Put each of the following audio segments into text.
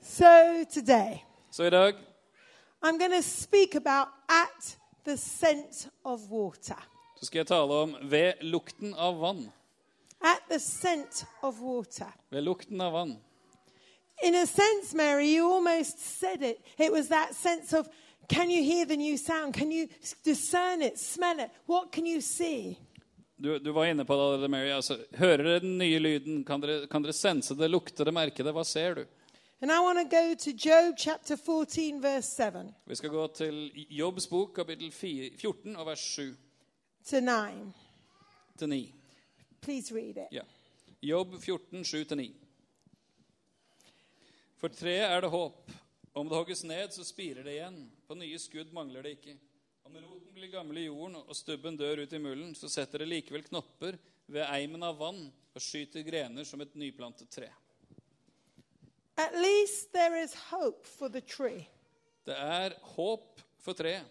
So today, Så i dag I'm going to speak about at the scent of water. så skal jeg tale om ved lukten av vann. At the scent of water. Ved lukten av vann. In a sense, Mary, you almost said it. It was that sense of can you hear the new sound? Can you s- discern it, smell it? What can you see? Du, du var inne på det, allerede, Mary. Altså, hører dere den nye lyden? Kan dere, kan dere sense det, lukte det, merke det? Hva ser du? And I want to go to Job chapter 14, verse 7 Vi skal gå til Jobbs bok, kapittel fi- 14, og vers 7-9. to 9. Please read it. Ja. Jobb 14, 7-9. For treet er det håp. Om det hogges ned, så spirer det igjen. På nye skudd mangler det ikke. Om roten blir gammel i jorden, og stubben dør ut i mulden, så setter det likevel knopper ved eimen av vann og skyter grener som et nyplantet tre. At least there is hope for the tree. Det er håp for treet.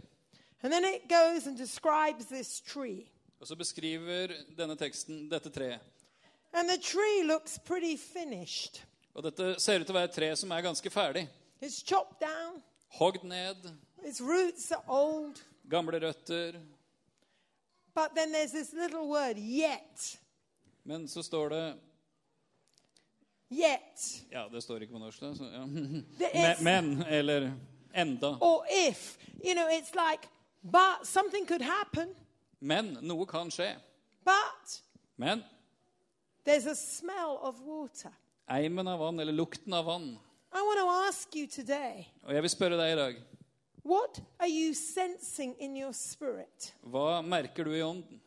And then it goes and describes this tree. Og så beskriver denne teksten dette treet. And the tree looks pretty finished. Og dette ser ut til å være et tre som er ganske ferdig. It's chopped down, Hogd ned, its roots are old, gamle røtter. but then there's this little word, yet. Men så står det Yet. Ja, det står ikke på norsk, da. Så, ja. The- men, it's- men, eller enda. Or if. You know, it's like, but something could happen, Men noe kan skje. but Men there's a smell of water. eimen av vann, eller lukten av vann. I want to ask you today Og jeg vil spørre deg i dag what are you sensing in your spirit? hva merker du i ånden?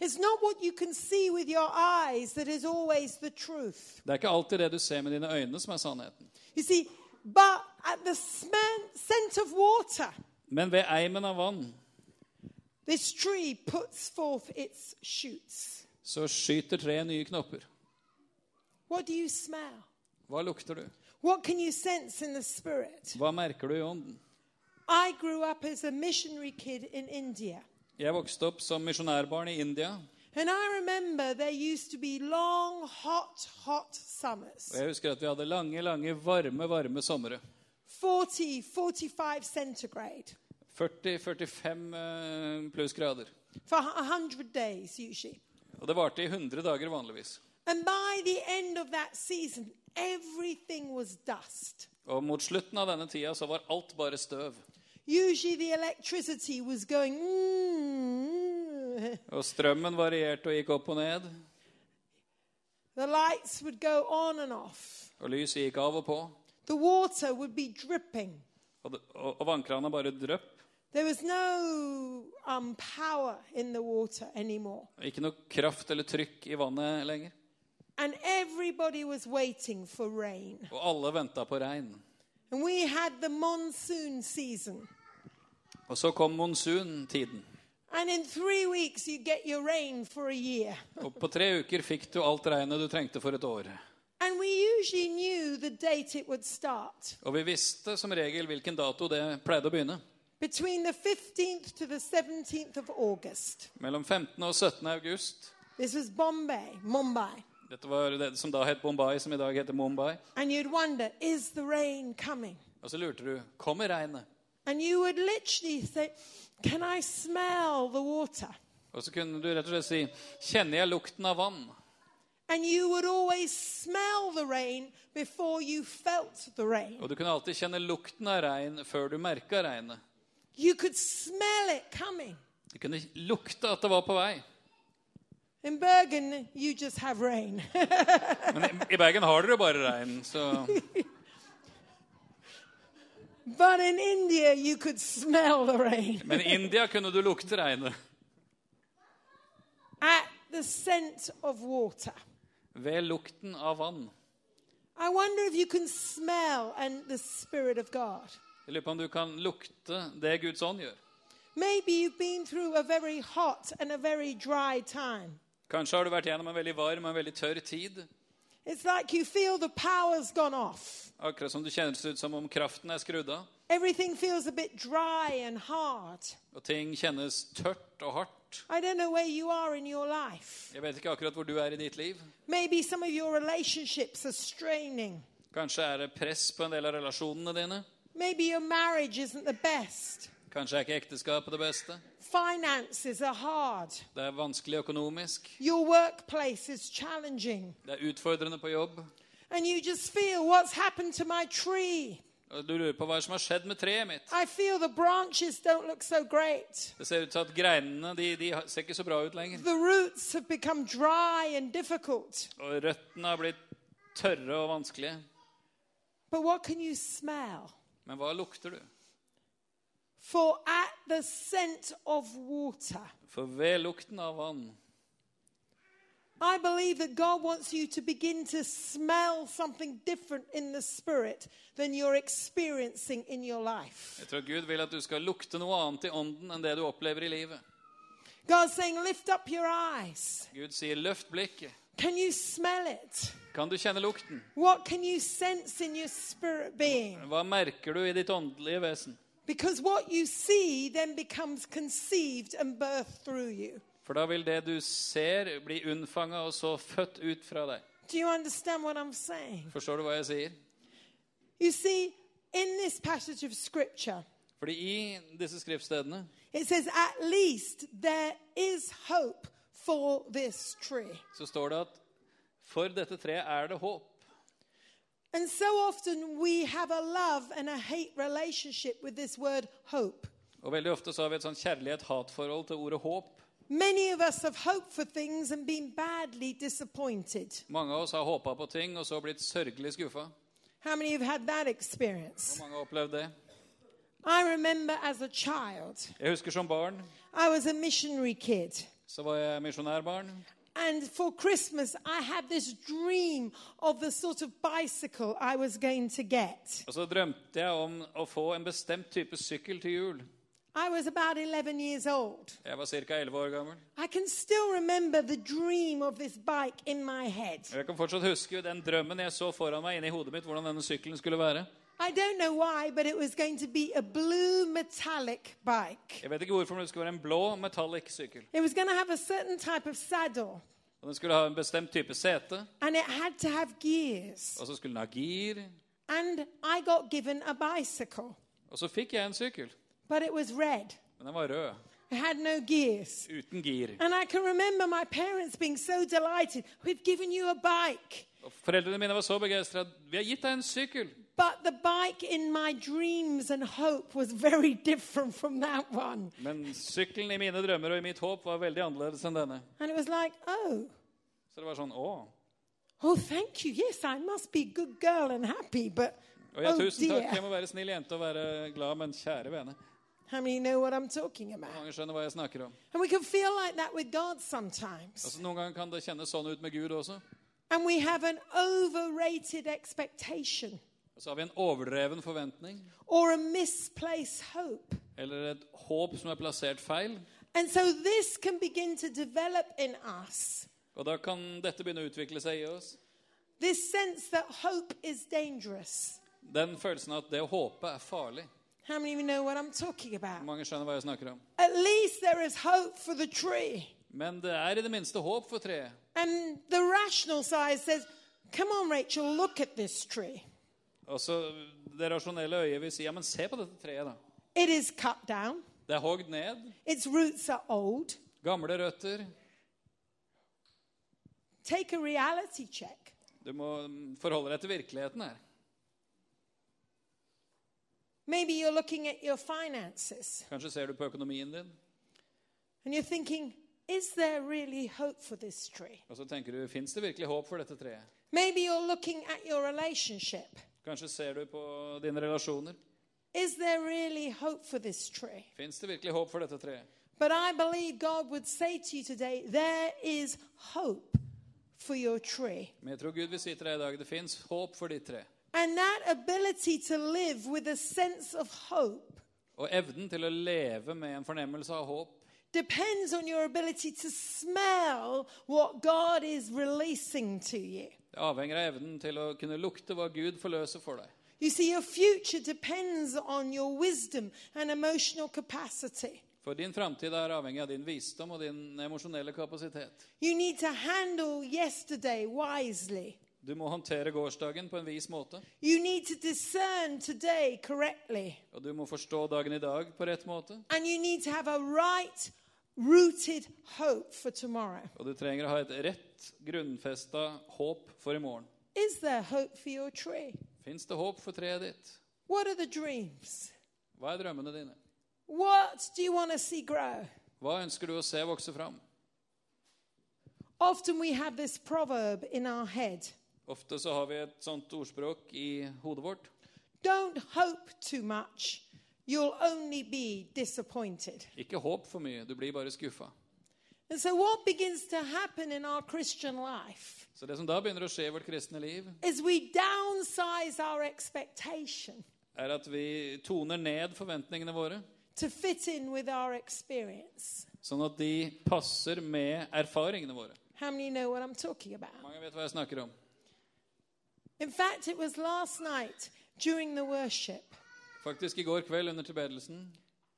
It's not what you can see with your eyes that is always the truth. Det er ikke alltid det du ser med dine øyne, som er sannheten. You see, but at the smell, scent of water, Men ved eimen av vann this tree puts forth its shoots. så skyter treet nye knopper. What do you smell? Hva lukter du? What can you sense in the spirit? Hva merker du i ånden? I grew up as a missionary kid in India. Jeg vokste opp som misjonærbarn i India. And I remember there used to be long, hot, hot Og summers jeg husker at vi hadde lange, lange, varme, varme somre. 40, 45 centigrade 40-45 eh, plussgrader. for 100 days usually. Og det varte i 100 dager vanligvis. And by the end of that season, everything was dust. Og mot slutten av denne tida så var alt bare støv. Usually the electricity was going. "Mm." Og strømmen varierte og gikk opp og ned. The lights would go on and off. Og lyset gikk av og på. The water would be dripping. Og, det- og, og vannkrana bare drøpp. There was no um, power in the water anymore. Og Ikke noe kraft eller trykk i vannet lenger. And everybody was waiting for rain. Og alle venta på regn. And we had the monsoon season. Og så kom monsuntiden. And in three weeks, you get your rain for a year. Og på tre uker fikk du alt regnet du trengte for et år. And we usually knew the date it would start. Og vi visste som regel hvilken dato det pleide å begynne. Between the 15th to the 17th of August. Mellom 15. og 17. august. This was Bombay, Mumbai. Dette var det som da het Bombay, som i dag heter Mumbai. And you'd wonder, is the rain coming? Og så lurte du kommer regnet. And you would literally say, can I smell the water? Og så kunne du rett og slett si kjenner jeg lukten av vann? And you would always smell the rain before you felt the rain. Og du kunne alltid kjenne lukten av regn før du merka regnet. You could smell it coming. Du kunne lukte at det var på vei. In Bergen, you just have rain. Men i- i Bergen har dere jo bare regn, så but in India, you could smell the rain. Men i India kunne du lukte regnet. At the scent of water. Ved lukten av vann. I wonder if you can smell and the Spirit of God. Jeg lurer på om du kan lukte det Guds ånd gjør. Maybe you've been through a very hot and a very dry time. Kanskje har du vært gjennom en veldig varm og en veldig tørr tid. It's like you feel the power's gone off. Akkurat som du kjennes ut som om kraften er skrudd av. Everything feels a bit dry and hard. Og ting kjennes tørt og hardt. I don't know where you are in your life. Jeg vet ikke akkurat hvor du er i ditt liv. Maybe some of your relationships are straining. Kanskje er det press på en del av relasjonene dine. Maybe your marriage isn't the best. Kanskje er ikke ekteskapet det beste. Finances are hard. Det er vanskelig økonomisk. Your workplace is challenging. Det er utfordrende på jobb. And you just feel what's happened to my tree. Og du lurer på hva som har skjedd med treet mitt. I feel the branches don't look so great. Det ser ut til at greinene de, de har- ser ikke så bra ut lenger. The roots have become dry and difficult. Og røttene har blitt tørre og vanskelige. But what can you smell? Men hva lukter du? For at the scent of water, For ved lukten av vann I believe that God wants you to begin to smell something different in the spirit than you're experiencing in your life. Jeg tror Gud vil at du skal lukte noe annet i ånden enn det du opplever i livet. God's saying, lift up your eyes. Gud sier, løft blikket. Can you smell it? Kan du kjenne lukten? What can you sense in your spirit being? Hva merker du i ditt åndelige vesen? Because what you see then becomes conceived and birthed through you. For da vil det du ser, bli unnfanga og så født ut fra deg. Do you understand what I'm saying? Forstår du hva jeg sier? You see, in this passage of scripture, Fordi i disse skriftstedene it says, at least there is hope for this tree. så står det at for dette treet er det håp. And so often we have a love and a hate relationship with this word hope. Og veldig ofte så har vi et sånn kjærlighet-hat-forhold til ordet håp. Many of us have hoped for things and been badly disappointed. Mange av oss har håpa på ting og så blitt sørgelig skuffa. How many of you have had that experience? Mange har opplevd det. I remember as a child, Jeg husker som barn I was a missionary kid. så var jeg misjonærbarn. And for Christmas, I had this dream of the sort of bicycle I was going to get. Og så drømte jeg om å få en bestemt type sykkel til jul. I was about 11 years old. Jeg var ca. 11 år gammel. I can still remember the dream of this bike in my head. Og Jeg kan fortsatt huske den drømmen jeg så foran meg inni hodet mitt, hvordan denne sykkelen skulle være. I don't know why, but it was going to be a blue metallic bike. Jeg vet ikke hvorfor, men det skulle være en blå metallic sykkel. It was going to have a certain type of saddle, Og den skulle ha en bestemt type sete, and it had to have gears. og så skulle den ha gir. And I got given a bicycle, Og så fikk jeg en sykkel, but it was red. men den var rød, It had no gears. uten gir. And I can remember my parents being so delighted. We've given you a bike. Og foreldrene mine var så begeistra. 'Vi har gitt deg en sykkel!' But the bike in my dreams and hope was very different from that one. Men sykkelen i mine drømmer og i mitt håp var veldig annerledes enn denne. And it was like, oh, Så det var sånn 'Å'. oh, thank you. Yes, I must be a good girl and happy, but Og jeg, oh tusen takk, jeg dear. må være snill jente og være glad, men kjære vene. How many know what I'm talking about? Mange skjønner hva jeg snakker om. And we can feel like that with God sometimes. Altså, noen ganger kan det kjennes sånn ut med Gud også. And we have an overrated expectation Og så har vi en overdreven forventning, or a misplaced hope. eller et håp som er plassert feil. And so this can begin to develop in us. Og da kan dette begynne å utvikle seg i oss. This sense that hope is dangerous. Den følelsen at det å håpe er farlig. How many of you know what I'm talking about? Mange skjønner hva jeg snakker om. At least there is hope for the tree. Men det er i det minste håp for treet. And the rational side says, Come on, Rachel, look at this tree. Og så Det rasjonelle øyet vil si ja, men se på dette treet, da. It is cut down, Det er hogd ned. its roots are old. Gamle røtter. Take a reality check. Du må mm, forholde deg til virkeligheten her. Maybe you're looking at your finances Kanskje ser du på økonomien din, and you're thinking, Is there really hope for this tree? og så tenker du fins det virkelig håp for dette treet? Maybe you're looking at your relationship. Kanskje ser du på dine relasjoner. Is there really hope for this tree? Fins det virkelig håp for dette treet? But I believe God would say to you today, there is hope for your tree. Men jeg tror Gud vil si til deg i dag det fins håp for ditt tre. And that ability to live with a sense of hope Og evnen til å leve med en fornemmelse av håp depends on your ability to smell what God is releasing to you. det avhenger av evnen til å kunne lukte hva Gud forløser for deg. You see, your future depends on your wisdom and emotional capacity. For din framtid er avhengig av din visdom og din emosjonelle kapasitet. You need to handle yesterday wisely. Du må håndtere gårsdagen på en vis måte, You need to discern today correctly. og du må forstå dagen i dag på rett måte. And you need to have a right rooted hope for tomorrow. Og du trenger å ha et rett grunnfesta håp for i morgen. Is there hope for your tree? Fins det håp for treet ditt? What are the dreams? Hva er drømmene dine? What do you want to see grow? Hva ønsker du å se vokse fram? Often we have this proverb in our head Ofte så har vi et sånt ordspråk i hodet vårt. don't hope too much, you'll only be disappointed. Ikke håp for mye, du blir bare skuffa. And so, what begins to happen in our Christian life Så det som da begynner å skje i vårt kristne liv, is we downsize our expectation er at vi toner ned forventningene våre, to fit in with our experience. sånn at de passer med erfaringene våre. How many know what I'm talking about? Mange vet hva jeg snakker om. In fact, it was last night during the worship. Faktisk i går kveld under tilbedelsen,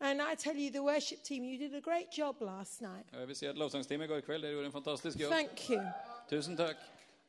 And I tell you, the worship team, you did a great job last night. og jeg vil si at lovsangsteamet i går kveld, dere gjorde en fantastisk jobb. Thank you. Tusen takk.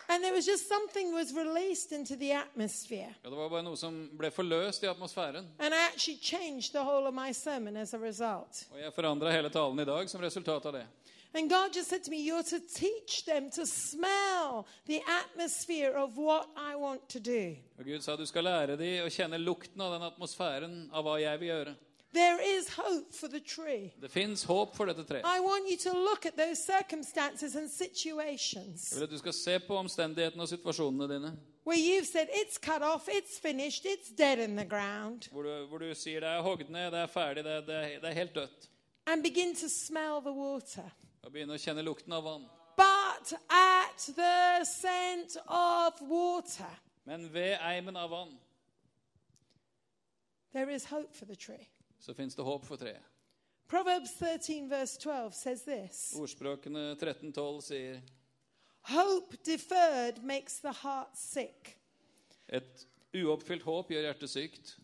And there was just something was released into the atmosphere. Ja, det var bare noe som ble forløst i atmosfæren, And I actually changed the whole of my sermon as a result. og jeg forandra hele talen i dag som resultat av det. And God just said to me, You're to teach them to smell the atmosphere of what I want to do. Og Gud sa du skal lære de å kjenne lukten av den atmosfæren av hva jeg vil gjøre. There is hope for the tree. Det fins håp for dette treet. I want you to look at those circumstances and situations Jeg vil at du skal se på omstendighetene og situasjonene dine. where you've said, It's cut off, it's finished, it's dead in the ground, Hvor du, hvor du sier det er hogd ned, det er ferdig, det, det, det er helt dødt. and begin to smell the water. Og begynne å kjenne lukten av vann. But at the scent of water, Men ved eimen av vann there is hope for the tree. så fins det håp for treet. Proverbs 13, verse 12 says this Ordspråkene 1312 sier Hope deferred makes the heart sick, et uoppfylt håp gjør hjertet sykt,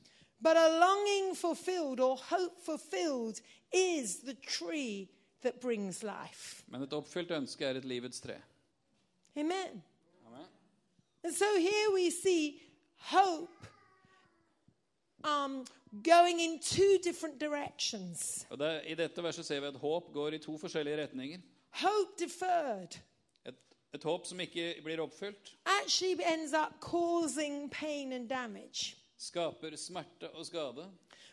but a longing fulfilled or hope fulfilled is the tree that brings life. men et oppfylt ønske er et livets tre. Amen. Amen. And so here we see hope um, going in two different directions Og det, I dette verset ser vi at håp går i to forskjellige retninger. hope deferred. Et, et håp som ikke blir oppfylt, actually ends up causing pain and damage. skaper smerte og skade.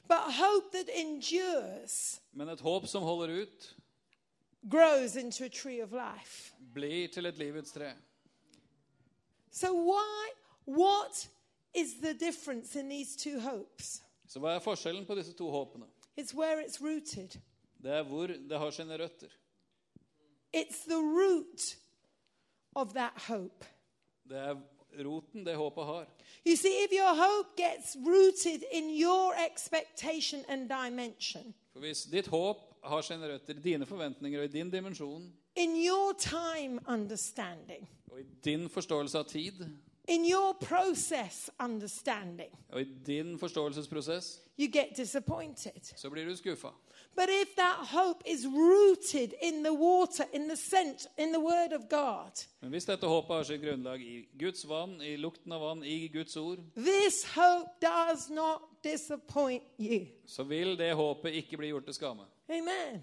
But hope that endures Men et håp som holder ut, grows into a tree of life. blir til et livets tre. So, why, what is the difference in these two hopes? Så hva er forskjellen på disse to håpene? It's where it's rooted, Det er hvor det har sine røtter. it's the root of that hope. Det er roten det håpet har. You see, if your hope gets rooted in your expectation and dimension, For hvis ditt håp har sine røtter i dine forventninger og i din dimensjon in your time understanding, og i din forståelse av tid in your process understanding, og i din forståelsesprosess, you get disappointed. så blir du skuffa. But if that hope is rooted in the water, in the scent, in the word of God, Men hvis dette håpet har sitt grunnlag i Guds vann, i lukten av vann, i Guds ord, this hope does not disappoint you. så vil det håpet ikke bli gjort til skamme. Amen.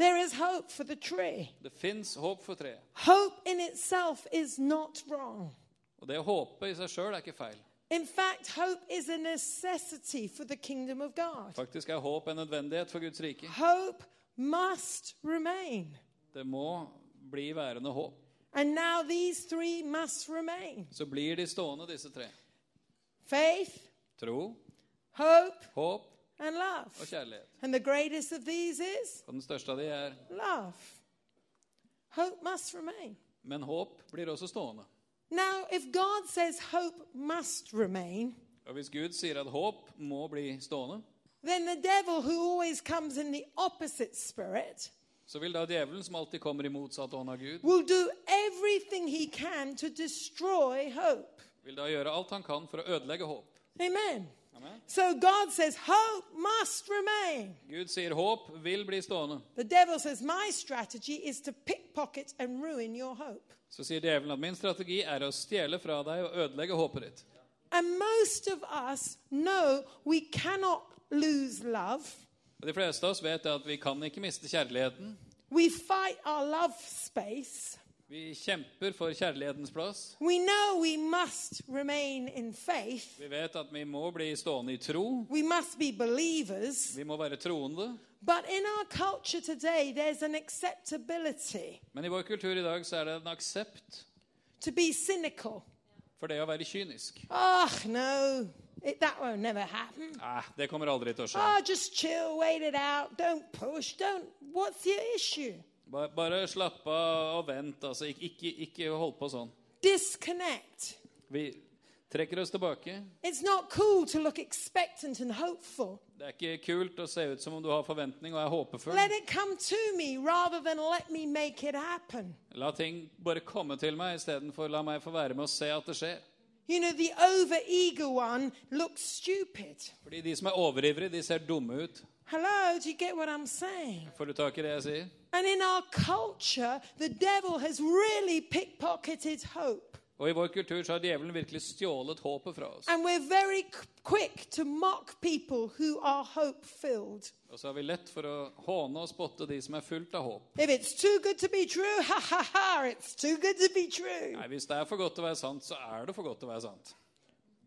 There is hope for the tree. Det fins håp for treet. Hope in itself is not wrong. Og det å håpe i seg sjøl er ikke feil. In fact, hope is a necessity for the kingdom of God. Faktisk er håp en nødvendighet for Guds rike. Hope must remain. Det må bli værende håp. And now these three must remain Så blir de stående, disse tre. faith, Tro, hope, håp and og love. kjærlighet. And the greatest of these is Og den største av de er love. Hope must remain. Men håp blir også stående. Now, if God says hope must remain, Og hvis Gud sier at håp må bli stående, then the devil, who always comes in the opposite spirit, så vil da djevelen, som alltid kommer i motsatt ånd av Gud, will do everything he can to destroy hope. vil da gjøre alt han kan for å ødelegge håp. Amen. Amen. So God says, hope must remain. Gud sier håp vil bli stående. The devil says, my strategy is to pickpocket and ruin your hope. Så sier djevelen at min strategi er å stjele fra deg og ødelegge håpet ditt. And most of us know we cannot lose love. Og De fleste av oss vet at vi kan ikke miste kjærligheten. We fight our love space. Vi kjemper for kjærlighetens plass. We know we must remain in faith. Vi vet at vi må bli stående i tro. We must be believers. Vi må være troende. But in our culture today, there's an acceptability Men i vår kultur i dag så er det en aksept to be cynical. for det å være kynisk. Oh, no, it, that won't never happen. Nei, det kommer aldri til å skje. Oh, just chill, wait it out. Don't push. Don't. What's your issue? Ba- Bare slapp av og vent. Altså, ikke, ikke, ikke hold på sånn. Disconnect. Vi trekker oss tilbake. It's not cool to look expectant and hopeful. Det er ikke kult å se ut som om du har forventning og er håpefull. Let it come to me rather than let me make it happen. La ting bare komme til meg istedenfor la meg få være med og se at det skjer. You know, the over eager one looks stupid. Fordi de som er overivrige, de ser dumme ut. Hello, do you get what I'm saying? Får du tak i det jeg sier? And in our culture, the devil has really pickpocketed hope. Og i vår kultur så har djevelen virkelig stjålet håpet fra oss. And we're very c- quick to mock people who are hope filled. Og så har vi lett for å håne og spotte de som er fullt av håp. If it's too good to be true, ha ha ha, it's too good to be true. Nei, hvis det er for godt til å være sant, så er det for godt til å være sant.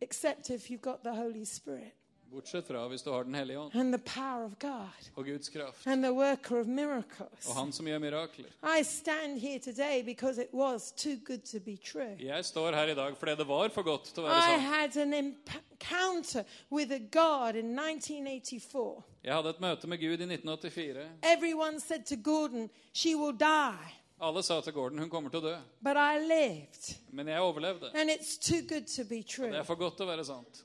Except if you've got the Holy Spirit Bortsett fra hvis du har Den hellige ånd and the power of God og Guds kraft and the worker of miracles. og Han som gjør mirakler. I stand here today because it was too good to be true. Jeg står her i dag fordi det var for godt til å være I sant. had an imp- encounter with a God in 1984. Jeg hadde et møte med Gud i 1984. Everyone said to Gordon, She will die. Alle sa til Gordon hun kommer til å dø. But I lived. Men jeg overlevde. And it's too good to be Det true. er for godt til å være sant.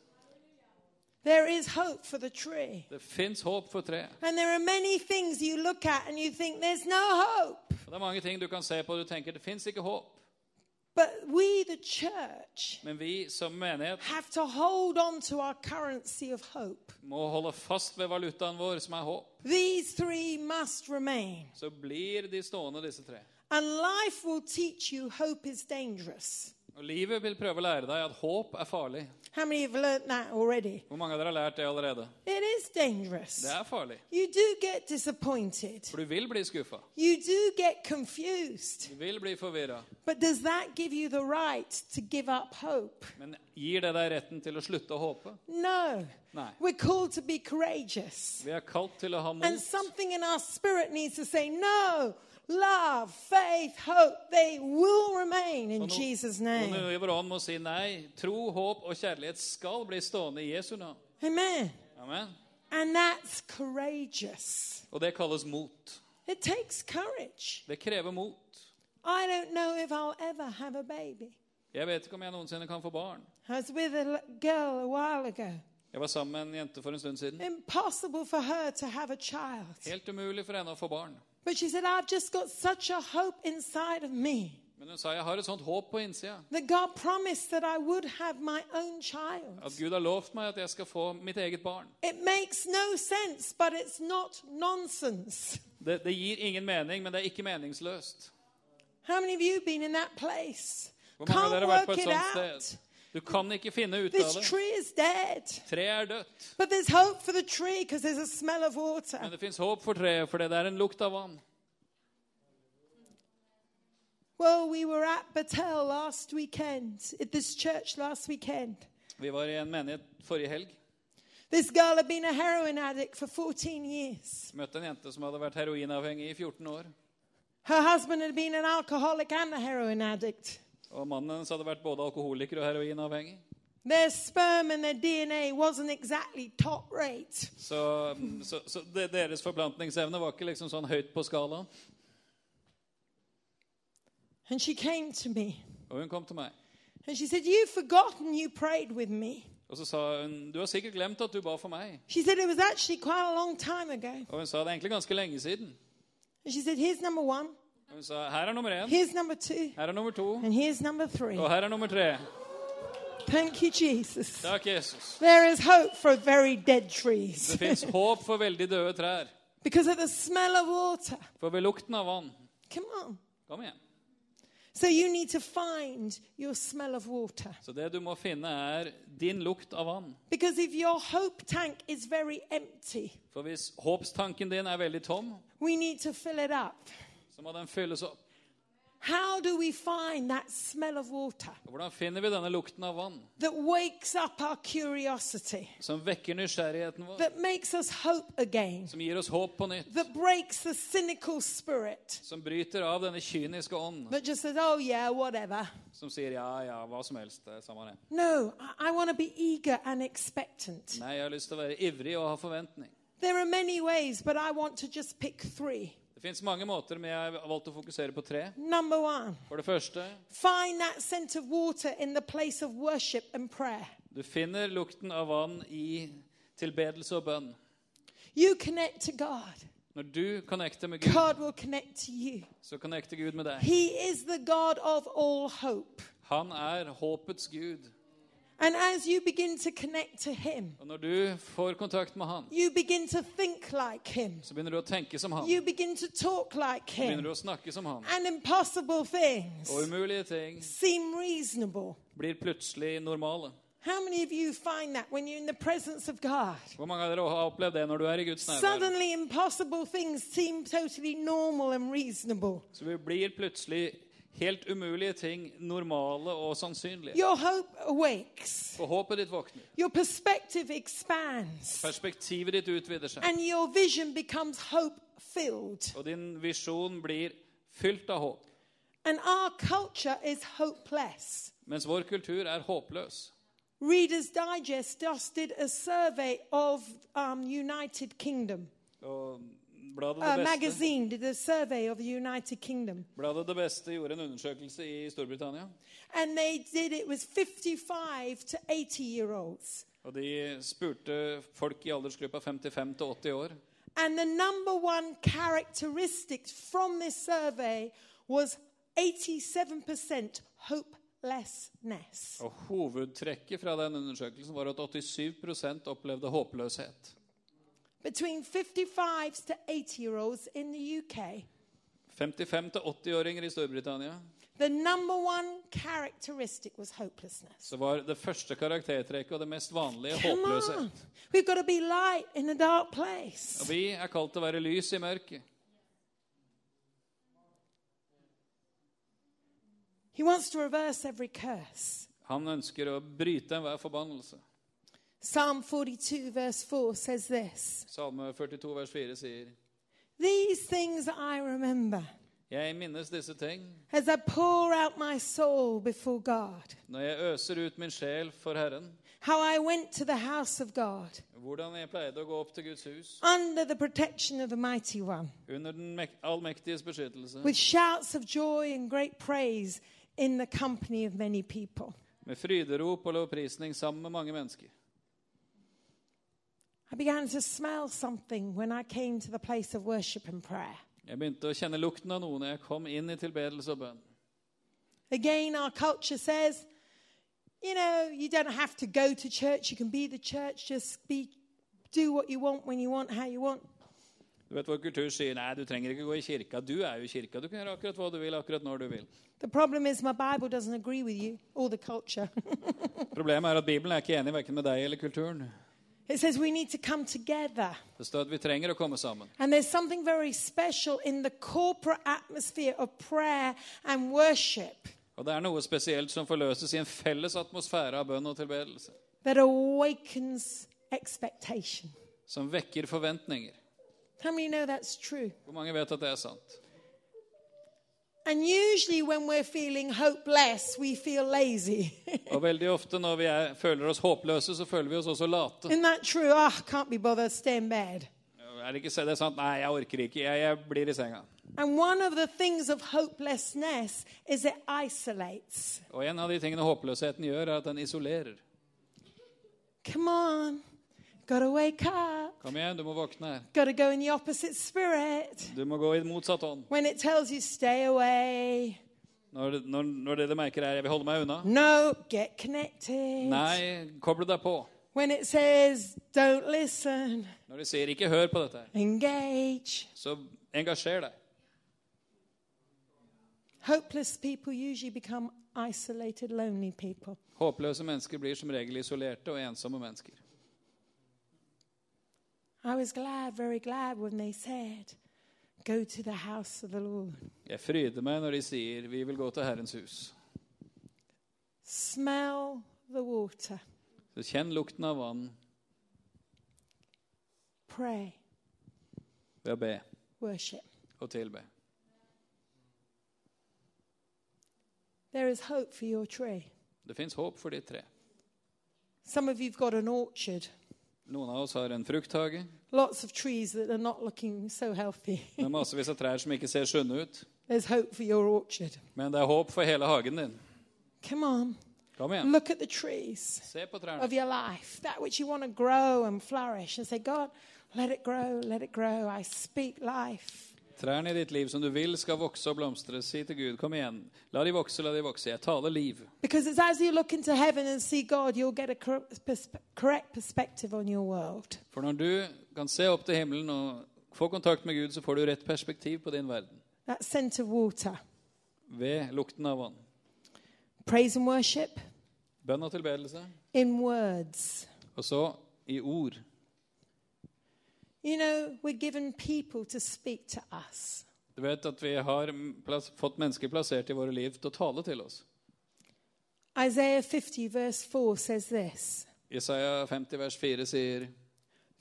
There is hope for the tree. Det fins håp for treet. And there are many things you look at and you think, There's no hope. Og Det er mange ting du kan se på og du tenker det fins ikke håp. But we, the church, Men vi som menighet have to hold on to our currency of hope. må holde fast ved valutaen vår, som er håp. These three must remain. Så blir de stående, disse tre. And life will teach you hope is dangerous. Og livet vil prøve å lære deg at håp er farlig. How many have learnt that already? Hvor mange av dere har lært det allerede? It is dangerous. Det er farlig. You do get disappointed. For du vil bli skuffa. You do get confused. Du vil bli forvirra. But does that give you the right to give up hope? Men gir det deg retten til å slutte å håpe? No. No. We're called to be courageous. Vi er kalt til å ha And mot. something in our spirit needs to say, no, love, faith, hope, they will remain in Og noe- Jesus' Og name. noe i vår ånd må si nei. Tro, håp og kjærlighet skal bli stående i Jesu navn. Amen. Amen. And that's courageous. Og det kalles mot. It takes courage. Det krever mot. I don't know if I'll ever have a baby. Jeg vet ikke om jeg noensinne kan få barn. I was with a l- girl a while ago. Jeg var sammen med en jente for en stund siden. Impossible for her to have a child. Helt umulig for henne å få barn. But she said, I've just got such a hope inside of me Men hun sa jeg har et sånt håp på innsida. that God promised that I would have my own child. At Gud har lovt meg at jeg skal få mitt eget barn. It makes no sense, but it's not nonsense. Det, det gir ingen mening, men det er ikke meningsløst. How many of you been in that place? Hvor mange av Can't dere har work vært på et it sånt out. sted? Du kan ikke finne ut av This det. tree is dead. Treet er dødt. But there's hope for the tree because there's a smell of water. Men det fins håp for treet, fordi det er en lukt av vann. Well, we were at Battelle last weekend, at this church last weekend. Vi var i en menighet forrige helg. This girl had been a heroin addict for 14 years. Møtte en jente som hadde vært heroinavhengig i 14 år. Her husband had been an alcoholic and a heroin addict. Og mannen hennes hadde vært både alkoholiker og heroinavhengig. Their sperm and their DNA wasn't exactly top rate. Så, så, så de- deres forplantningsevne var ikke liksom sånn høyt på skalaen. And she came to me Og hun kom til meg. and she said, You've forgotten you prayed with me. Og så sa hun du har sikkert glemt at du ba for meg. She said, It was actually quite a long time ago. Og hun sa det er egentlig ganske lenge siden. And she said, Here's number one, Og hun sa her er nummer én, here's number two, her er nummer to, and here's number three. og her er nummer tre. Thank you, Jesus. Takk, Jesus. There is hope for very dead trees. Det fins håp for veldig døde trær. Because of the smell of water. For ved lukten av vann Come on. Kom igjen. So you need to find your smell of water. Så det du må finne, er din lukt av vann. Because if your hope tank is very empty, For hvis håpstanken din er veldig tom, we need to fill it up. så må den fylles opp. How do we find that smell of water Og Hvordan finner vi denne lukten av vann that wakes up our curiosity, som vekker nysgjerrigheten vår? that makes us hope again, Som gir oss håp på nytt? that breaks the cynical spirit Som bryter av denne kyniske ånd that just says, oh yeah, whatever? som sier ja, ja, hva som helst, det er samme det. No, I, I want to be eager and expectant. Nei, jeg har lyst til å være ivrig og ha forventning. There are many ways, but I want to just pick three. Det fins mange måter, men jeg har valgt å fokusere på tre. Number one, For det første, find that scent of water in the place of worship and prayer. du finner lukten av vann i tilbedelse og bønn. You connect to God, Når du connecter med Gud, God will connect to you. så connecter Gud med deg. He is the God of all hope. Han er håpets gud. And as you begin to connect to Him, Og når du får kontakt med han, you begin to think like Him, så begynner du å tenke som han. you begin to talk like Begynner du Him, å snakke som han. and impossible Og things umulige ting seem reasonable. blir plutselig normale. How many of you find that when you're in the presence of God? Hvor mange av dere har opplevd det når du er i Guds nærvær? Suddenly, impossible things seem totally normal and reasonable. Så vi blir plutselig helt umulige ting normale og sannsynlige. Your hope awakes, Og håpet ditt våkner. your perspective expands, Perspektivet ditt utvider seg. and your vision becomes hope filled. Og din visjon blir fylt av håp. And our culture is hopeless. Mens vår kultur er håpløs. Reader's Digest just did a survey of um, United Kingdom. Og bladet A det beste magazine did a survey of the United Kingdom. Bladet Det Beste gjorde en undersøkelse i Storbritannia. And they did it with 55 to 80 year olds. Og De spurte folk i aldersgruppa 55 til 80 år. And the number one characteristic from this survey was 87% hopelessness. Og Hovedtrekket fra den undersøkelsen var at 87 opplevde håpløshet. Between 55 to 80 year olds in the UK, 55 til 80-åringer i Storbritannia the number one characteristic was hopelessness. så var det første karaktertrekket og det mest vanlige Come on. håpløshet. We've got to be light in a dark Og place. Vi er kalt til å være lys i mørket. He wants to reverse every curse. Han ønsker å bryte enhver forbannelse. Psalm 42, verse 4 says this Salme 42 vers 4 sier These things I remember Jeg minnes disse ting as I pour out my soul before God. når jeg øser ut min sjel for Herren, how I went to the house of God hvordan jeg pleide å gå opp til Guds hus under the protection of the Mighty One, under den mek- allmektiges beskyttelse with shouts of joy and great praise in the company of many people. med fryderop og lovprisning sammen med mange mennesker. I began to smell something when I came to the place of worship and prayer. Jeg begynte å kjenne lukten av noe når jeg kom inn i tilbedelse og bønn. Again, our culture says, you know, you don't have to go to church, you can be the church, just be, do what you want when you want, how you want. Du vet Vår kultur sier nei, du trenger ikke gå i kirka. Du er jo i kirka. Du kan gjøre akkurat hva du vil, akkurat når du vil. The problem is, my Bible doesn't agree with you or the culture. Problemet er at Bibelen er ikke enig verken med deg eller kulturen. it says we need to come together. Det står at vi trenger å komme sammen. And there's something very special in the corporate atmosphere of prayer and worship Og det er noe spesielt som forløses i en felles atmosfære av bønn og tilbedelse. that awakens expectation. Som vekker forventninger. How many know that's true? Hvor mange vet at det er sant? And usually, when we're feeling hopeless, we feel lazy. Og veldig ofte når vi er, føler oss håpløse, så føler vi oss også late. Isn't that true? Ah, can't be bothered, stay in bed. Er det ikke så- det er sant? Nei, jeg orker ikke. Jeg, jeg blir i senga. And one of the things of hopelessness is it isolates. Og en av de tingene håpløsheten gjør, er at den isolerer. Come on, gotta wake up, Kom igjen, du må våkne her. gotta go in the opposite spirit. Du må gå i motsatt ånd. When it tells you stay away, Når, når, når det dere merker, er 'jeg vil holde meg unna', No, get connected. nei, koble deg på. When it says don't listen, Når de sier 'ikke hør på dette', her, engage. så engasjer deg. Hopeless people usually become isolated, lonely people. Håpløse mennesker blir som regel isolerte og ensomme mennesker. I was glad, very glad when they said, Go to the house of the Lord. Jeg fryder meg når de sier 'vi vil gå til Herrens hus'. Smell the water. Så kjenn lukten av vann Pray. ved å be Worship. og tilbe. There is hope for your tree. Det fins håp for ditt tre. Some of you've got an orchard, Noen av oss har en frukthage lots of trees that are not looking so healthy. med massevis av trær som ikke ser sunne ut. There's hope for your orchard. Men det er håp for hele hagen din. Come on, Kom igjen. look at the trees Se på trærne. of your life, that which you want to grow and flourish, and say, God, let it grow, let it grow. I speak life. Trærne i ditt liv som du vil skal vokse og blomstre. Si til Gud, kom igjen. La de vokse, la de vokse. Jeg taler liv. Because it's as you look into heaven and see God, you'll get a cor- perspe- correct perspective on your world. For når du kan se opp til himmelen og få kontakt med Gud, så får du rett perspektiv på din verden. That scent of water. Ved lukten av vann. Praise and worship Bønn og tilbedelse. in words. Og så i ord. You know, we're given people to speak to us. Du vet at vi har plass, fått mennesker plassert i våre liv til å tale til oss. Isaiah 50, verse 4 says this Jesaja 50 vers 4 sier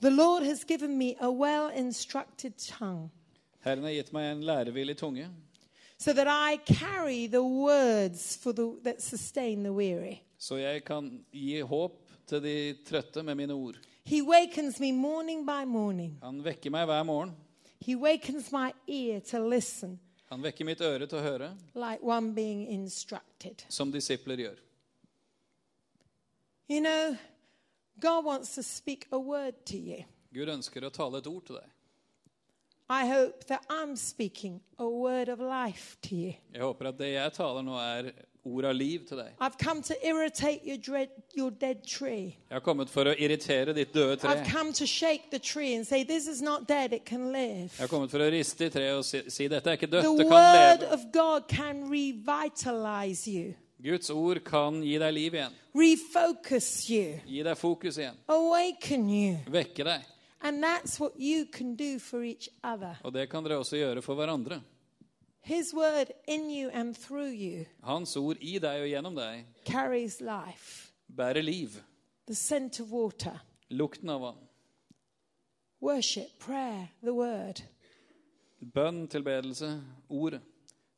The Lord has given me a well instructed tongue, Herren har gitt meg en lærevillig tunge, so that I carry the words for the, that sustain the weary. så jeg kan gi håp til de trøtte med mine ord. He wakens me morning by morning, Han vekker meg hver morgen. He wakens my ear to listen. Han vekker mitt øre til å høre, like one being instructed. som disipler gjør. You know, God wants to speak a word to you. Gud ønsker å tale et ord til deg. I hope that I'm speaking a word of life to you. Jeg håper at det jeg taler nå, er ord av liv til deg. I've come to irritate your, dread, your dead tree. Jeg har kommet for å irritere ditt døde tre. I've come to shake the tree and say, This is not dead, it can live. Jeg har kommet for å riste i treet og si, si dette er ikke dødt, The det kan word leve. of God can revitalize you, Guds ord kan gi deg liv igjen. refocus you, Gi deg fokus igjen. awaken you. Vekke deg. And that's what you can do for each other. Og det kan dere også gjøre for hverandre. His word in you and through you Hans ord i deg og gjennom deg carries life. bærer liv. the scent of water, Lukten av vann. worship, prayer, the word. Bønn, tilbedelse, ordet.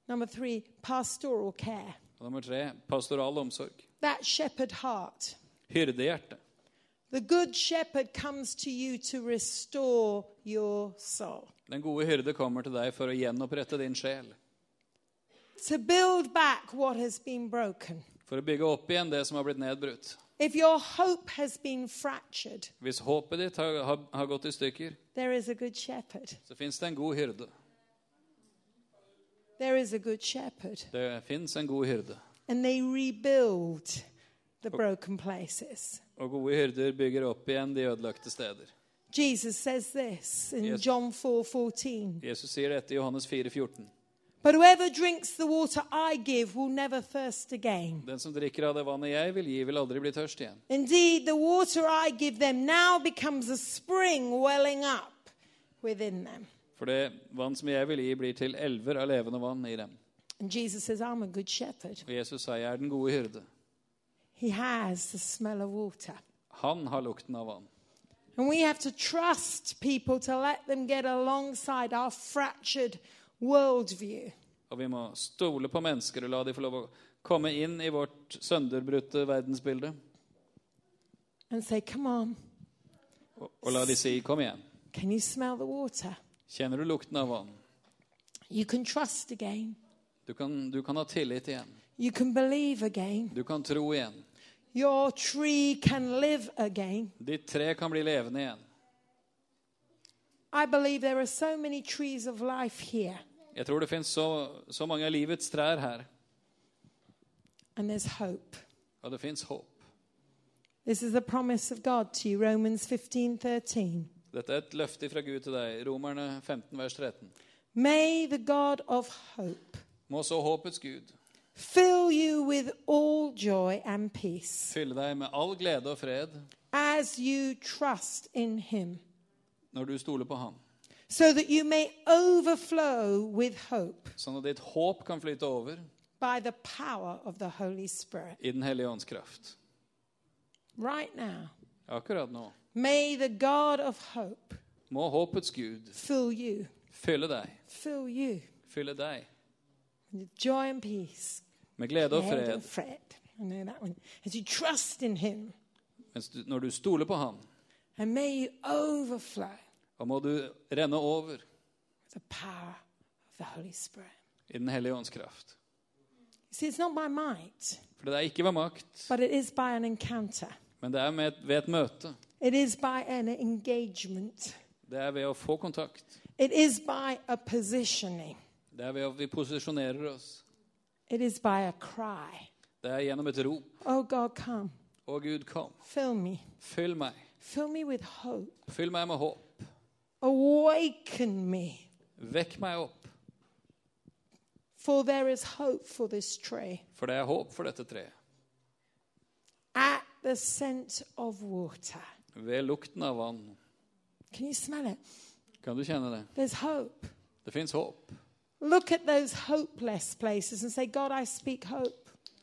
Number three, pastoral care. Og nummer tre pastoral omsorg. That shepherd heart. Hyrdehjerte. The good shepherd comes to you to restore your soul, Den gode hyrde kommer til deg for å gjenopprette din sjel. to build back what has been broken. For å bygge opp igjen det som har blitt nedbrutt. If your hope has been fractured, Hvis håpet ditt har, har, har gått i stykker, there is a good shepherd. så fins det en god hyrde. There is a good shepherd. Det fins en god hyrde. And they rebuild the broken places. Og gode hyrder bygger opp igjen de ødelagte steder. Jesus says this in Yes. John 4 14. Jesus sier dette i Johannes 4, 14. But whoever drinks the water I give will never thirst again. Den som drikker av det vannet jeg vil gi, vil aldri bli tørst igjen. Indeed, the water I give them now becomes a spring welling up within them. For det vann som jeg vil gi, blir til elver av levende vann i dem. And Jesus says, I'm a good shepherd. Og Jesus sa, jeg er den gode hyrde. He has the smell of water. Han har lukten av vann. And we have to trust people to let them get alongside our fractured worldview. Og vi må stole på mennesker og la de få lov å komme inn i vårt sønderbrutte verdensbilde. And say, Come on, Og, og la de si 'kom igjen'. can you smell the water? Kjenner du lukten av vann? You can trust again. Du kan, du kan ha tillit igjen. You can believe again. Du kan tro igjen. Your tree can live again. Ditt tre kan bli levende igjen. I believe there are so many trees of life here. Jeg tror det fins så, så mange av livets trær her. and there's hope. Og det fins håp. This is the promise of God to you, Romans 15 13. Dette er et løfte fra Gud til deg. Romerne 15, vers 13. May the God of hope Må så håpets Gud fill you with all joy and peace fylle deg med all glede og fred as you trust in him, når du stoler på Ham, so that you may overflow with hope sånn at ditt håp kan flyte over by the power of the Holy Spirit. i Den hellige ånds kraft. Right now, Akkurat nå may the God of hope må håpets Gud fill you, fylle deg, fill you fylle deg with joy and peace. med glede og Head and fred fred. I know that one. As you trust in him, mens du, når du stoler på Ham. and may you overflow Og må du renne over with the power of the Holy Spirit. i Den hellige ånds kraft. You see, it's not by might, For det er ikke ved makt, but it is by an encounter. men det er med et, ved et møte. It is by an engagement. Det er ved å få kontakt. It is by a positioning. Det er ved at vi posisjonerer oss. It is by a cry. Det er gjennom et rop. Oh God, come, Å, Gud, kom. fill me. Fyll meg. Fill me with hope. Fyll meg med håp. Awaken me, Vekk meg opp, for there is hope for this tree. for det er håp for dette treet. At the scent of water. Ved lukten av vann. Can you smell it? Kan du kjenne det? There's hope. Det fins håp. Look at those hopeless places and say, God, I speak hope.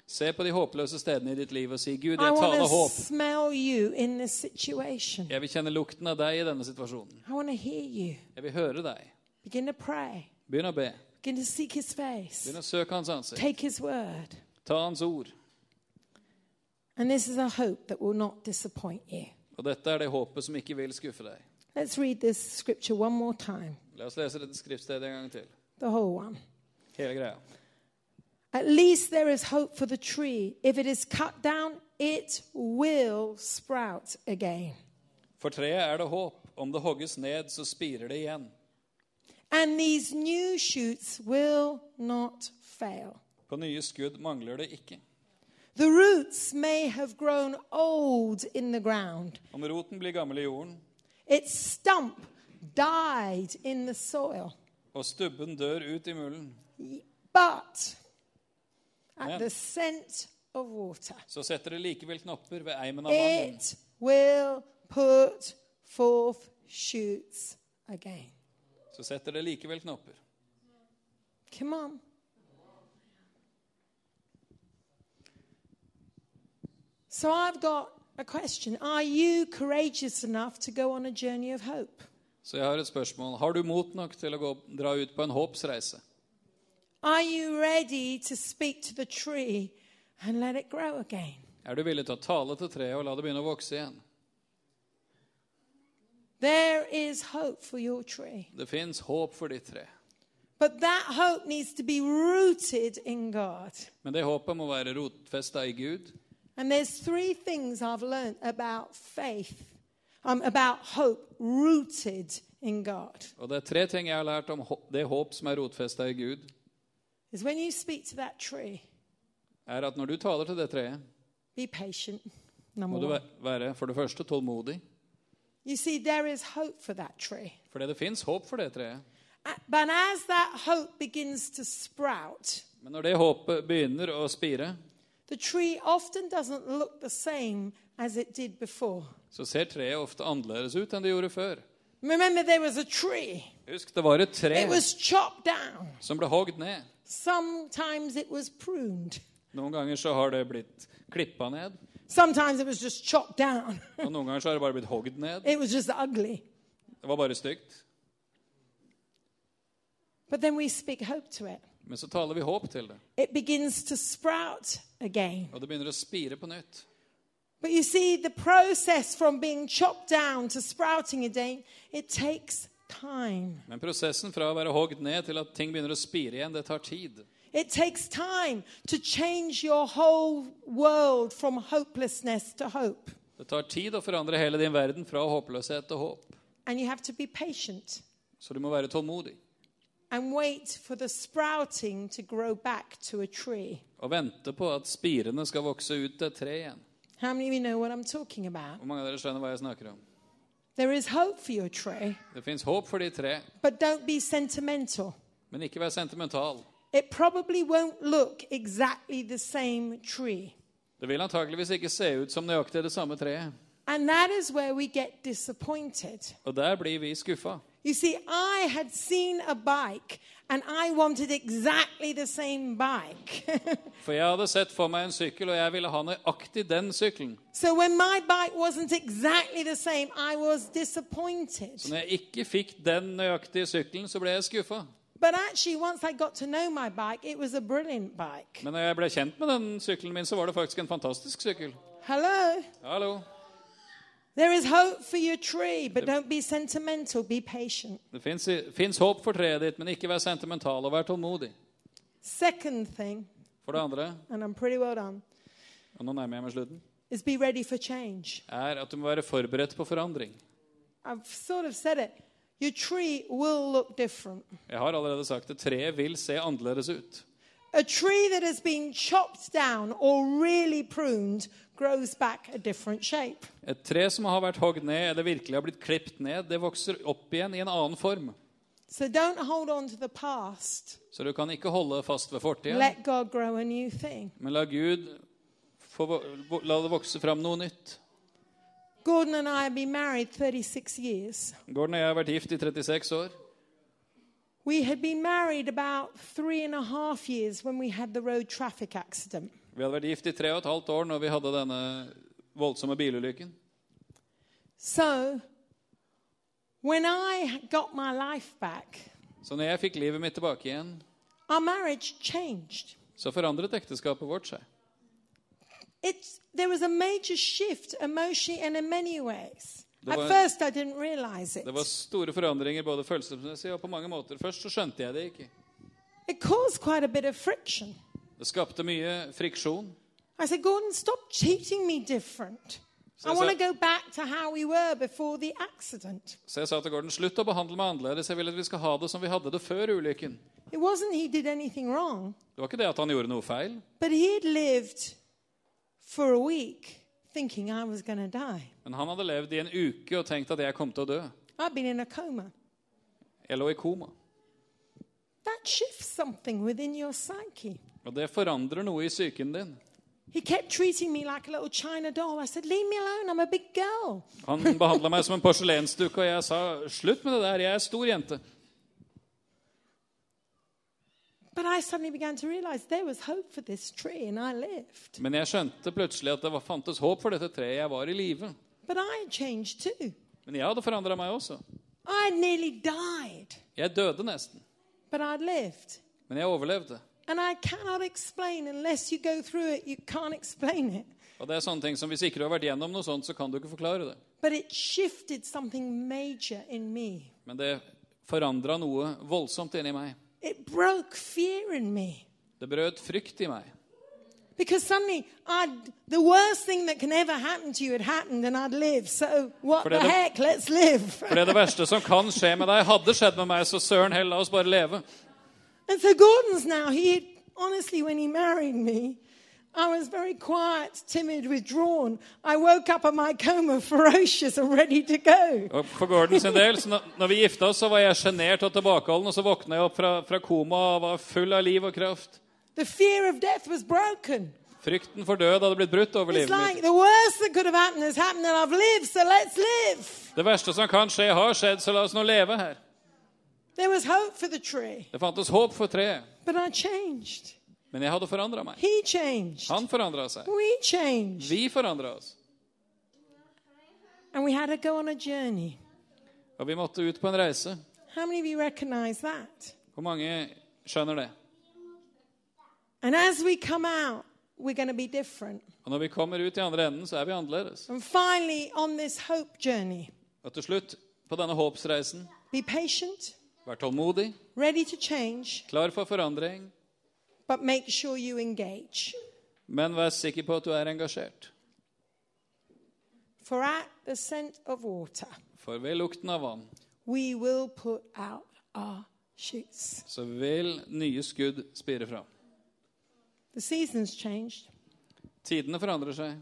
Se på de håpløse stedene i ditt liv og si, Gud, I jeg want taler to håp. smell you in this situation. Jeg vil kjenne lukten av deg i denne situasjonen. I want to hear you. Jeg vil høre deg. Begin to pray. Begynn å be. Begin to seek his face. Begynn å søke hans ansikt. Take his word. Ta hans ord. And this is a hope that will not disappoint you. Og dette er det håpet som ikke vil skuffe deg. Let's read this scripture one more time, La oss lese dette skriftstedet en gang til. the whole one. Hele greia. At least there is hope for the tree. If it is cut down, it will sprout again. For treet er det håp. Om det hogges ned, så spirer det igjen. And these new shoots will not fail. På nye skudd mangler det ikke. The roots may have grown old in the ground. Om roten blir gammel i jorden, Its stump died in the soil. og stubben dør ut i mulden, But at Yeah. the scent of water, så setter det likevel knopper ved eimen av Eh. vann. it will put forth shoots again. Så setter det likevel knopper. Come on. So I've got a question. Are you courageous enough to go on a journey of hope? Så jeg har et spørsmål. Har du mot nok til å gå, dra ut på en håpsreise? Are you ready to speak to the tree and let it grow again? Er du villig til å tale til treet og la det begynne å vokse igjen? There is hope for your tree. Det fins håp for ditt tre. But that hope needs to be rooted in God. Men det håpet må være rotfesta i Gud. And there's three things I've learned about faith, um, about hope rooted in God. Og det er tre ting jeg har lært om hå- det håp som er rotfesta i Gud, Is when you speak to that tree, er at når du taler til det treet, be patient. må Number du one. væ- være for det første tålmodig, You see, there is hope for that tree. fordi det fins håp for det treet. A- But as that hope begins to sprout, Men når det håpet begynner å spire, the tree often doesn't look the same as it did before. så ser treet ofte annerledes ut enn det gjorde før. Remember, there was a tree, Husk, det var et tre it was chopped down. som ble hogd ned. Sometimes it was pruned. Noen ganger så har det blitt klippa ned, Sometimes it was just chopped down. og noen ganger så har det bare blitt hogd ned. It was just ugly. Det var bare stygt. But then we speak hope to it. Men så taler vi håp til det, It begins to sprout again. og det begynner å spire på nytt. But you see, the process from being chopped down to sprouting again, it takes time. Men prosessen fra å være hogd ned til at ting begynner å spire igjen, det tar tid. It takes time to change your whole world from hopelessness to hope. Det tar tid å forandre hele din verden fra håpløshet til håp. And you have to be patient. Så du må være tålmodig. and wait for the sprouting to grow back to a tree. og vente på at spirene skal vokse ut til et tre igjen. How many of you know what I'm talking about? Hvor mange av dere skjønner hva jeg snakker om? There is hope for your tree, Det fins håp for de tre, but don't be sentimental. men ikke vær sentimental. It probably won't look exactly the same tree. Det vil antakeligvis ikke se ut som nøyaktig det samme treet. And that is where we get disappointed. Og der blir vi skuffa. You see, I had seen a bike and I wanted exactly the same bike. For jeg hadde sett for meg en sykkel, og jeg ville ha nøyaktig den sykkelen. so when my bike wasn't exactly the same, I was disappointed. Når jeg ikke fikk den nøyaktige sykkelen, så ble jeg skuffa. But actually, once I got to know my bike, it was a brilliant bike. Men når jeg ble kjent med den sykkelen min, så var det faktisk en fantastisk sykkel. Hello? Hallo. There is hope for your tree, but don't be sentimental, be patient. Det fins håp for treet ditt, men ikke vær sentimental og vær tålmodig. Second thing, For det andre, and I'm pretty well done, og nå nærmer jeg meg slutten, is be ready for change. er at du må være forberedt på forandring. I've sort of said it. Your tree will look different. Jeg har allerede sagt det. Treet vil se annerledes ut. A tree that has been chopped down or really pruned grows back a different shape. Et tre som har vært hogd ned eller virkelig har blitt klipt ned, det vokser opp igjen i en annen form. So don't hold on to the past. Så du kan ikke holde fast ved fortida, Let God grow a new thing. men la Gud få, vo- la det vokse fram noe nytt. Gordon and I have been married 36 years. Gordon og jeg har vært gift i 36 år. We had been married about three and a half years when we had the road traffic accident. Vi hadde vært gift i tre og et halvt år når vi hadde denne voldsomme bilulykken. So when I got my life back, Så når jeg fikk livet mitt tilbake igjen, our marriage changed. så forandret ekteskapet vårt seg. It's, there was a major shift emotionally and in many ways. Det var- At first, I didn't realize it. Det var store forandringer både følelsesmessig og på mange måter. Først så skjønte jeg det ikke. It caused quite a bit of friction. Det skapte mye friksjon. I said, Gordon, stop treating me different. So I is want to that- go back to how we were before the accident. Så jeg sa til Gordon slutt å behandle meg annerledes. Jeg vil at vi skal ha det som vi hadde det før ulykken. It wasn't he did anything wrong, Det var ikke det at han gjorde noe feil. but he had lived for a week thinking I was going to die. Men han hadde levd i en uke og tenkt at jeg kom til å dø. I've been in a coma. Jeg lå i koma. That shifts something within your psyche. Og det forandrer noe i psyken din. He kept treating me like a little china doll. I said, Leave me alone, I'm a big girl. Han behandla meg som en porselensdukke, og jeg sa slutt med det der, jeg er stor jente. But I suddenly began to realize there was hope for this tree, and I lived. Men jeg skjønte plutselig at det var, fantes håp for dette treet. Jeg var i live. But I had changed too. Men jeg hadde forandra meg også. I had nearly died, Jeg døde nesten. but I'd lived. Men jeg overlevde. And I cannot explain, unless you go through it, you can't explain it. Og det er sånne ting som Hvis ikke du har vært gjennom noe sånt, så kan du ikke forklare det. But it shifted something major in me. Men det forandra noe voldsomt inni meg. It broke fear in me. Det brøt frykt i meg. Because suddenly, I'd, the worst thing that can ever happen to you had happened and I'd live. So, what For the the- heck? Let's live. For det, er det verste som kan skje med deg, hadde skjedd med meg, så søren heller, la oss bare leve. And so, Gordon's now, he honestly, when he married me, I was very quiet, timid, withdrawn. I woke up in my coma, ferocious and ready to go. Og for Gordon sin del, så når- når vi gifta oss, så var jeg sjenert og tilbakeholden, og så våkna jeg opp fra, fra koma og var full av liv og kraft. The fear of death was broken. Frykten for død hadde blitt brutt over It's livet mitt. like the worst that could have happened has happened and I've lived, so let's live. Det verste som kan skje, har skjedd, så la oss nå leve her. There was hope for the tree, Det fantes håp for treet, but I changed. men jeg hadde forandra meg. He changed. Han forandra seg. We changed. Vi forandra oss. And we had to go on a journey. Og vi måtte ut på en reise. How many of you recognize that? Hvor mange skjønner det? And as we come out, we're going to be different. Og når vi kommer ut i andre enden, så er vi annerledes. And finally, on this hope journey, Og til slutt, på denne håpsreisen, be patient, vær tålmodig, ready to change, klar for forandring, but make sure you engage. men vær sikker på at du er engasjert. For at the scent of water, For ved lukten av vann we will put out our shoots. så vil nye skudd spire fram. The season's changed. Tidene forandrer seg,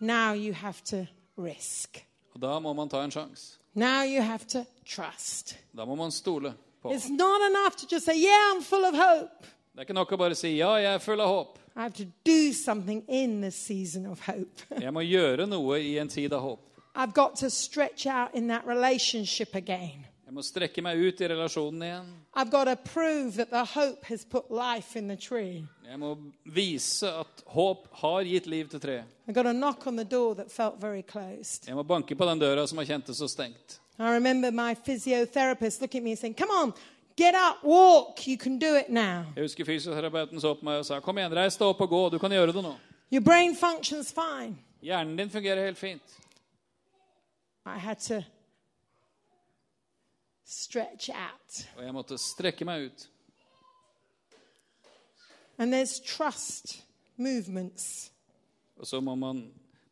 Now you have to risk. og da må man ta en sjanse. Now you have to trust. Da må man stole på. It's not enough to just say, Yeah, I'm full of hope. Det er ikke nok å bare si 'ja, jeg er full av håp'. I have to do something in this season of hope. Jeg må gjøre noe i en tid av håp. I've got to stretch out in that relationship again. Jeg må strekke meg ut i relasjonen igjen. I've got to prove that the hope has put life in the tree. Jeg må vise at håp har gitt liv til treet. I got a knock on the door that felt very closed. Jeg må banke på den døra som har kjent det så stengt. I remember my physiotherapist looking at me and saying, Come on, get up, walk, you can do it now. Jeg husker fysioterapeuten så på meg og sa 'Kom igjen, reis deg opp og gå. Du kan gjøre det nå'. Your brain functions fine. Hjernen din fungerer helt fint. I had to stretch out. Og jeg måtte strekke meg ut. And there's trust movements. Og så må man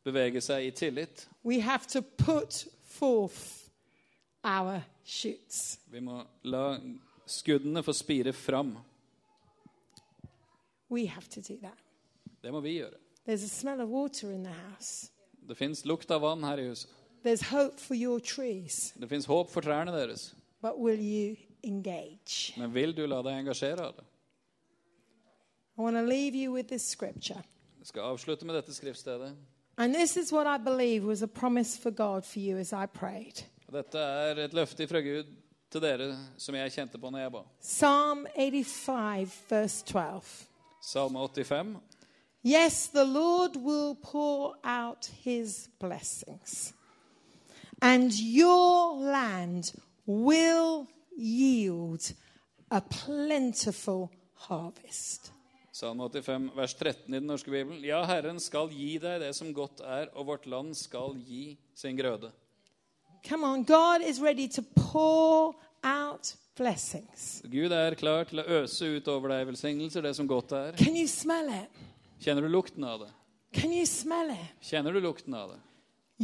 bevege seg i tillit. We have to put forth our shoots. Vi må la skuddene få spire fram. We have to do that. Det må vi gjøre. There's a smell of water in the house. Det fins lukt av vann her i huset. There's hope for your trees, Det fins håp for trærne deres. but will you engage? Men vil du la deg engasjere av det? I want to leave you with this scripture. Jeg skal avslutte med dette skriftstedet. And this is what I believe was a promise for God for you as I prayed. Og Dette er et løfte fra Gud til dere som jeg kjente på når jeg ba. Psalm 85, verse 12. Salme 85. Yes, the Lord will pour out his blessings, and your land will yield a plentiful harvest. Salme 85, vers 13 i Den norske bibelen. Ja, Herren skal gi deg det som godt er, og vårt land skal gi sin grøde. Come on, God is ready to pour out blessings. Gud er klar til å øse ut over deg velsignelser, det som godt er. Can you smell it? Kjenner du lukten av det? Can you smell it? Kjenner du lukten av det?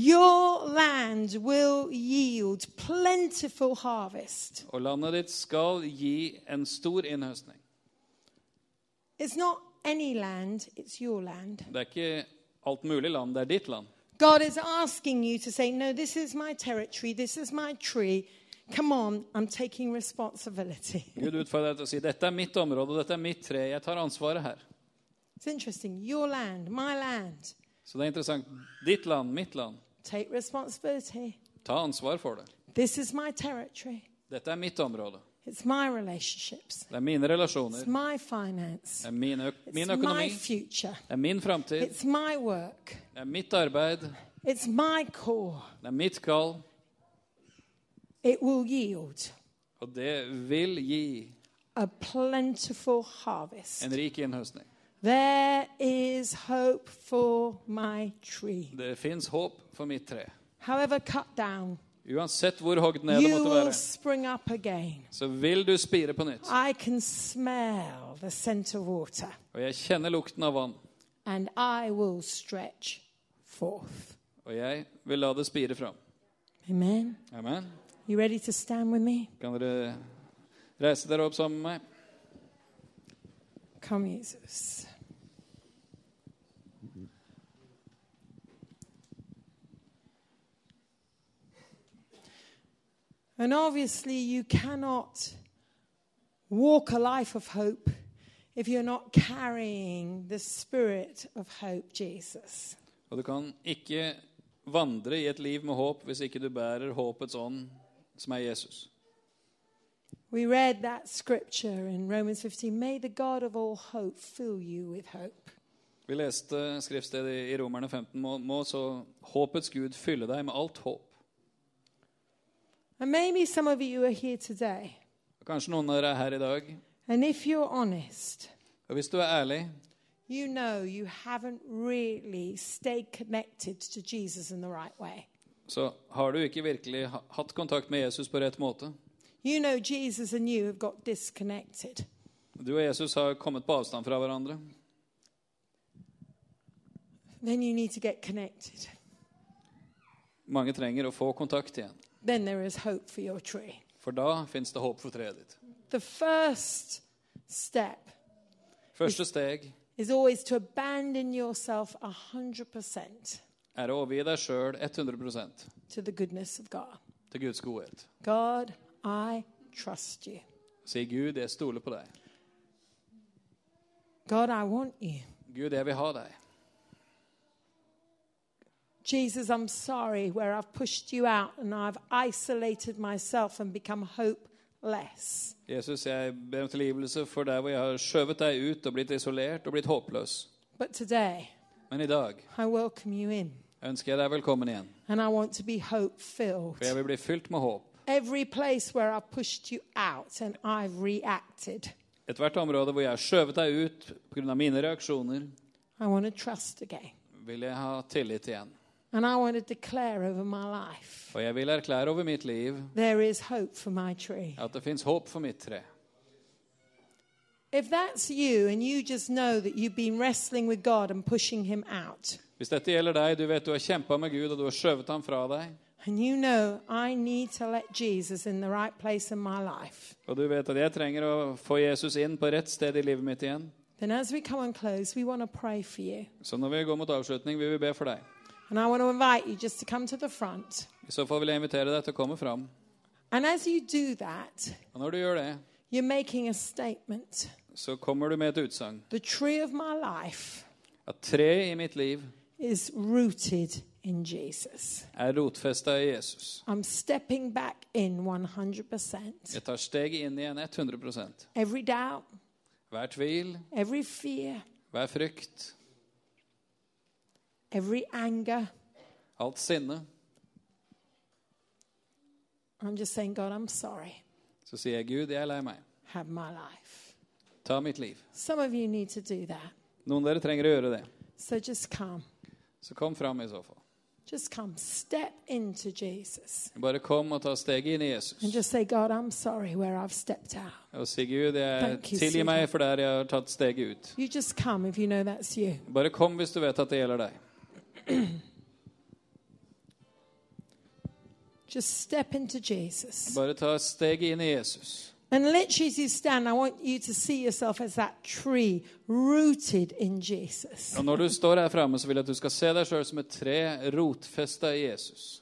Your land will yield plentiful harvest. Og landet ditt skal gi en stor innhøstning. It's not any land, it's your land. Det er ikke alt mulig land, det er ditt land. God is asking you to say, No, this is my territory, this is my tree. Come on, I'm taking responsibility. Gud utfordrer deg til å si dette er mitt område, dette er mitt tre, jeg tar ansvaret her. It's interesting. Your land, my land. Så det er interessant. Ditt land, mitt land. Take responsibility. Ta ansvar for det. This is my territory. Dette er mitt område. It's my relationships. Det er mine It's relasjoner. my finance. Det er min, øk It's min my økonomi. future. Det er min framtid. It's my work. Det er mitt arbeid. It's my core. Det er mitt kall. It will yield Og det vil gi a plentiful harvest. en rik innhøstning. There is hope for my tree. Det fins håp for mitt tre. However, cut down, Uansett hvor hogd ned det you måtte will være, spring up again. så vil du spire på nytt. I can smell the scent of water, Og jeg kjenner lukten av vann. and I will stretch forth. Og jeg vil la det spire fram. Amen. Amen. You ready to stand with me? Kan dere reise dere opp sammen med meg? Come, Jesus. And obviously, you cannot walk a life of hope if you're not carrying the spirit of hope, Jesus. Og du kan ikke vandre i et liv med håp hvis ikke du bærer håpets ånd, som er Jesus. We read that scripture in Romans 15 May the God of all hope fill you with hope. Vi leste skriftstedet i Romerne 15. Må, må så håpets Gud fylle deg med alt håp. And maybe some of you are here today. Og kanskje noen av dere er her i dag. And if you're honest, Og hvis du er ærlig, you know you haven't really stayed connected to Jesus in the right way. så har du ikke virkelig ha- hatt kontakt med Jesus på rett måte. You know Jesus and you have got disconnected. Du og Jesus har kommet på avstand fra hverandre. Then you need to get connected. Mange trenger å få kontakt igjen. Then there is hope for your tree. For da fins det håp for treet ditt. The first step Første steg is always to abandon yourself 100% er å overgi deg sjøl 100 to the goodness of God. til Guds godhet. God, I trust you. Si, 'Gud, jeg stoler på deg. God, I want you. Gud, jeg vil ha deg. Jesus, I'm sorry where I've pushed you out and I've isolated myself and become hopeless. Jesus, jeg ber om tilgivelse for der hvor jeg har skjøvet deg ut og blitt isolert og blitt håpløs. But today, Men i dag I welcome you in ønsker jeg deg velkommen igjen. and I want to be hope filled. For jeg vil bli fylt med håp. Every place where I've pushed you out and I've reacted, Ethvert område hvor jeg har skjøvet deg ut pga. mine reaksjoner, I want to trust again. vil jeg ha tillit igjen. And I want to declare over my life Og jeg vil erklære over mitt liv there is hope for my tree. at det fins håp for mitt tre. If that's you and you just know that you've been wrestling with God and pushing him out, Hvis dette gjelder deg, du vet du har kjempa med Gud, og du har skjøvet ham fra deg, and you know I need to let Jesus in the right place in my life, og du vet at jeg trenger å få Jesus inn på rett sted i livet mitt igjen, then as we come and close, we want to pray for you. så når vi går mot avslutning, vil vi be for deg. And I want to invite you just to come to the front. I så fall vil jeg invitere deg til å komme fram. And as you do that, Og når du gjør det, you're making a statement. så kommer du med et utsagn. The tree of my life At treet i mitt liv is rooted in Jesus. er rotfesta i Jesus. I'm stepping back in 100%. Jeg tar steget inn igjen 100 Every doubt, Hver tvil, every fear, hver frykt, every anger. alt sinne, I'm just saying, God, I'm sorry. så sier jeg Gud, jeg er lei meg. Have my life. Ta mitt liv. Some of you need to do that. Noen av dere trenger å gjøre det. So just come. Så kom fram i så fall. Just come. Step into Jesus. Bare kom og ta steget inn i Jesus. And just say, God, I'm sorry where I've stepped out. Og si Gud, jeg Thank you, tilgi sweetheart. meg for der jeg har tatt steget ut. You just come if you know that's you. Bare kom hvis du vet at det gjelder deg. Just step into Jesus. Bare ta steget inn i Jesus. And literally, as you stand, I want you to see yourself as that tree rooted in Jesus. Og når du står her framme, så vil jeg at du skal se deg sjøl som et tre rotfesta i Jesus.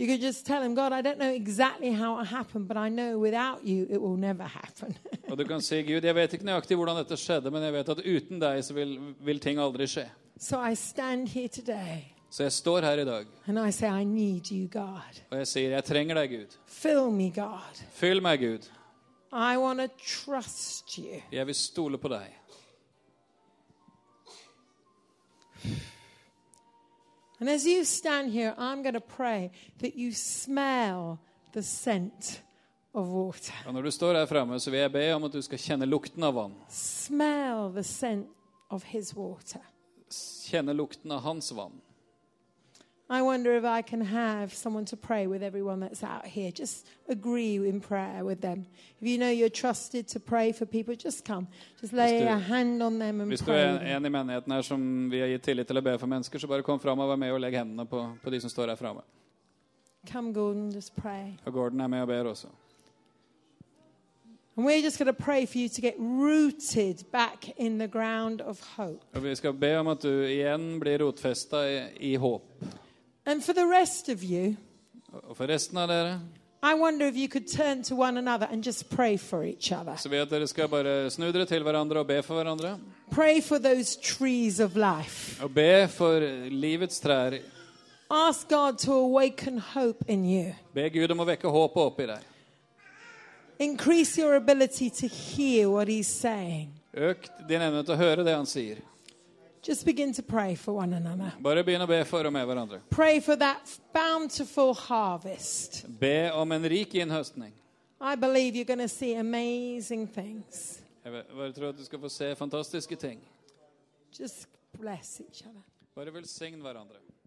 You could just tell him, God, I don't know exactly how it happened, but I know without you it will never happen. Og du kan si, Gud, jeg vet ikke nøyaktig hvordan dette skjedde, men jeg vet at uten deg så vil, vil ting aldri skje. so I stand here today Så jeg står her i dag, and I say, I need you, God. og jeg sier, jeg trenger deg, Gud. Fill me, God. Fyll meg, Gud. I want to trust you. Jeg vil stole på deg. And as you stand here, I'm going to pray that you smell the scent of water. Og når du står her framme, så vil jeg be om at du skal kjenne lukten av vann. Smell the scent of his water. Kjenne lukten av hans vann. I wonder if I can have someone to pray with everyone that's out here. Just agree in prayer with them. If you know you're trusted to pray for people, just come. Just lay Hvis du- a hand on them and Hvis du er pray. with en, them. en i menigheten her som vi har gitt tillit til å be for mennesker, så bare kom fram og vær med og legg hendene på, på de som står her framme. Come, Gordon, just pray. Og Gordon er med og ber også. And we're just going to pray for you to get rooted back in the ground of hope. Og vi skal be om at du igjen blir rotfesta i, i håp. And for the rest of you, Og for resten av dere I wonder if you could turn to one another and just pray for each other. så vil jeg at dere skal bare snu dere til hverandre og be for hverandre. Pray for those trees of life. Og be for livets trær. Ask God to awaken hope in you. Be Gud om å vekke håpet oppi deg. Increase your ability to hear what He's saying. Øk din evne til å høre det han sier. Just begin to pray for one another. Bare begynn å be for og med hverandre. Pray for that bountiful harvest. Be om en rik innhøstning. I believe you're going to see amazing things. Jeg vet- bare tror at du skal få se fantastiske ting. Just bless each other. Bare velsign hverandre.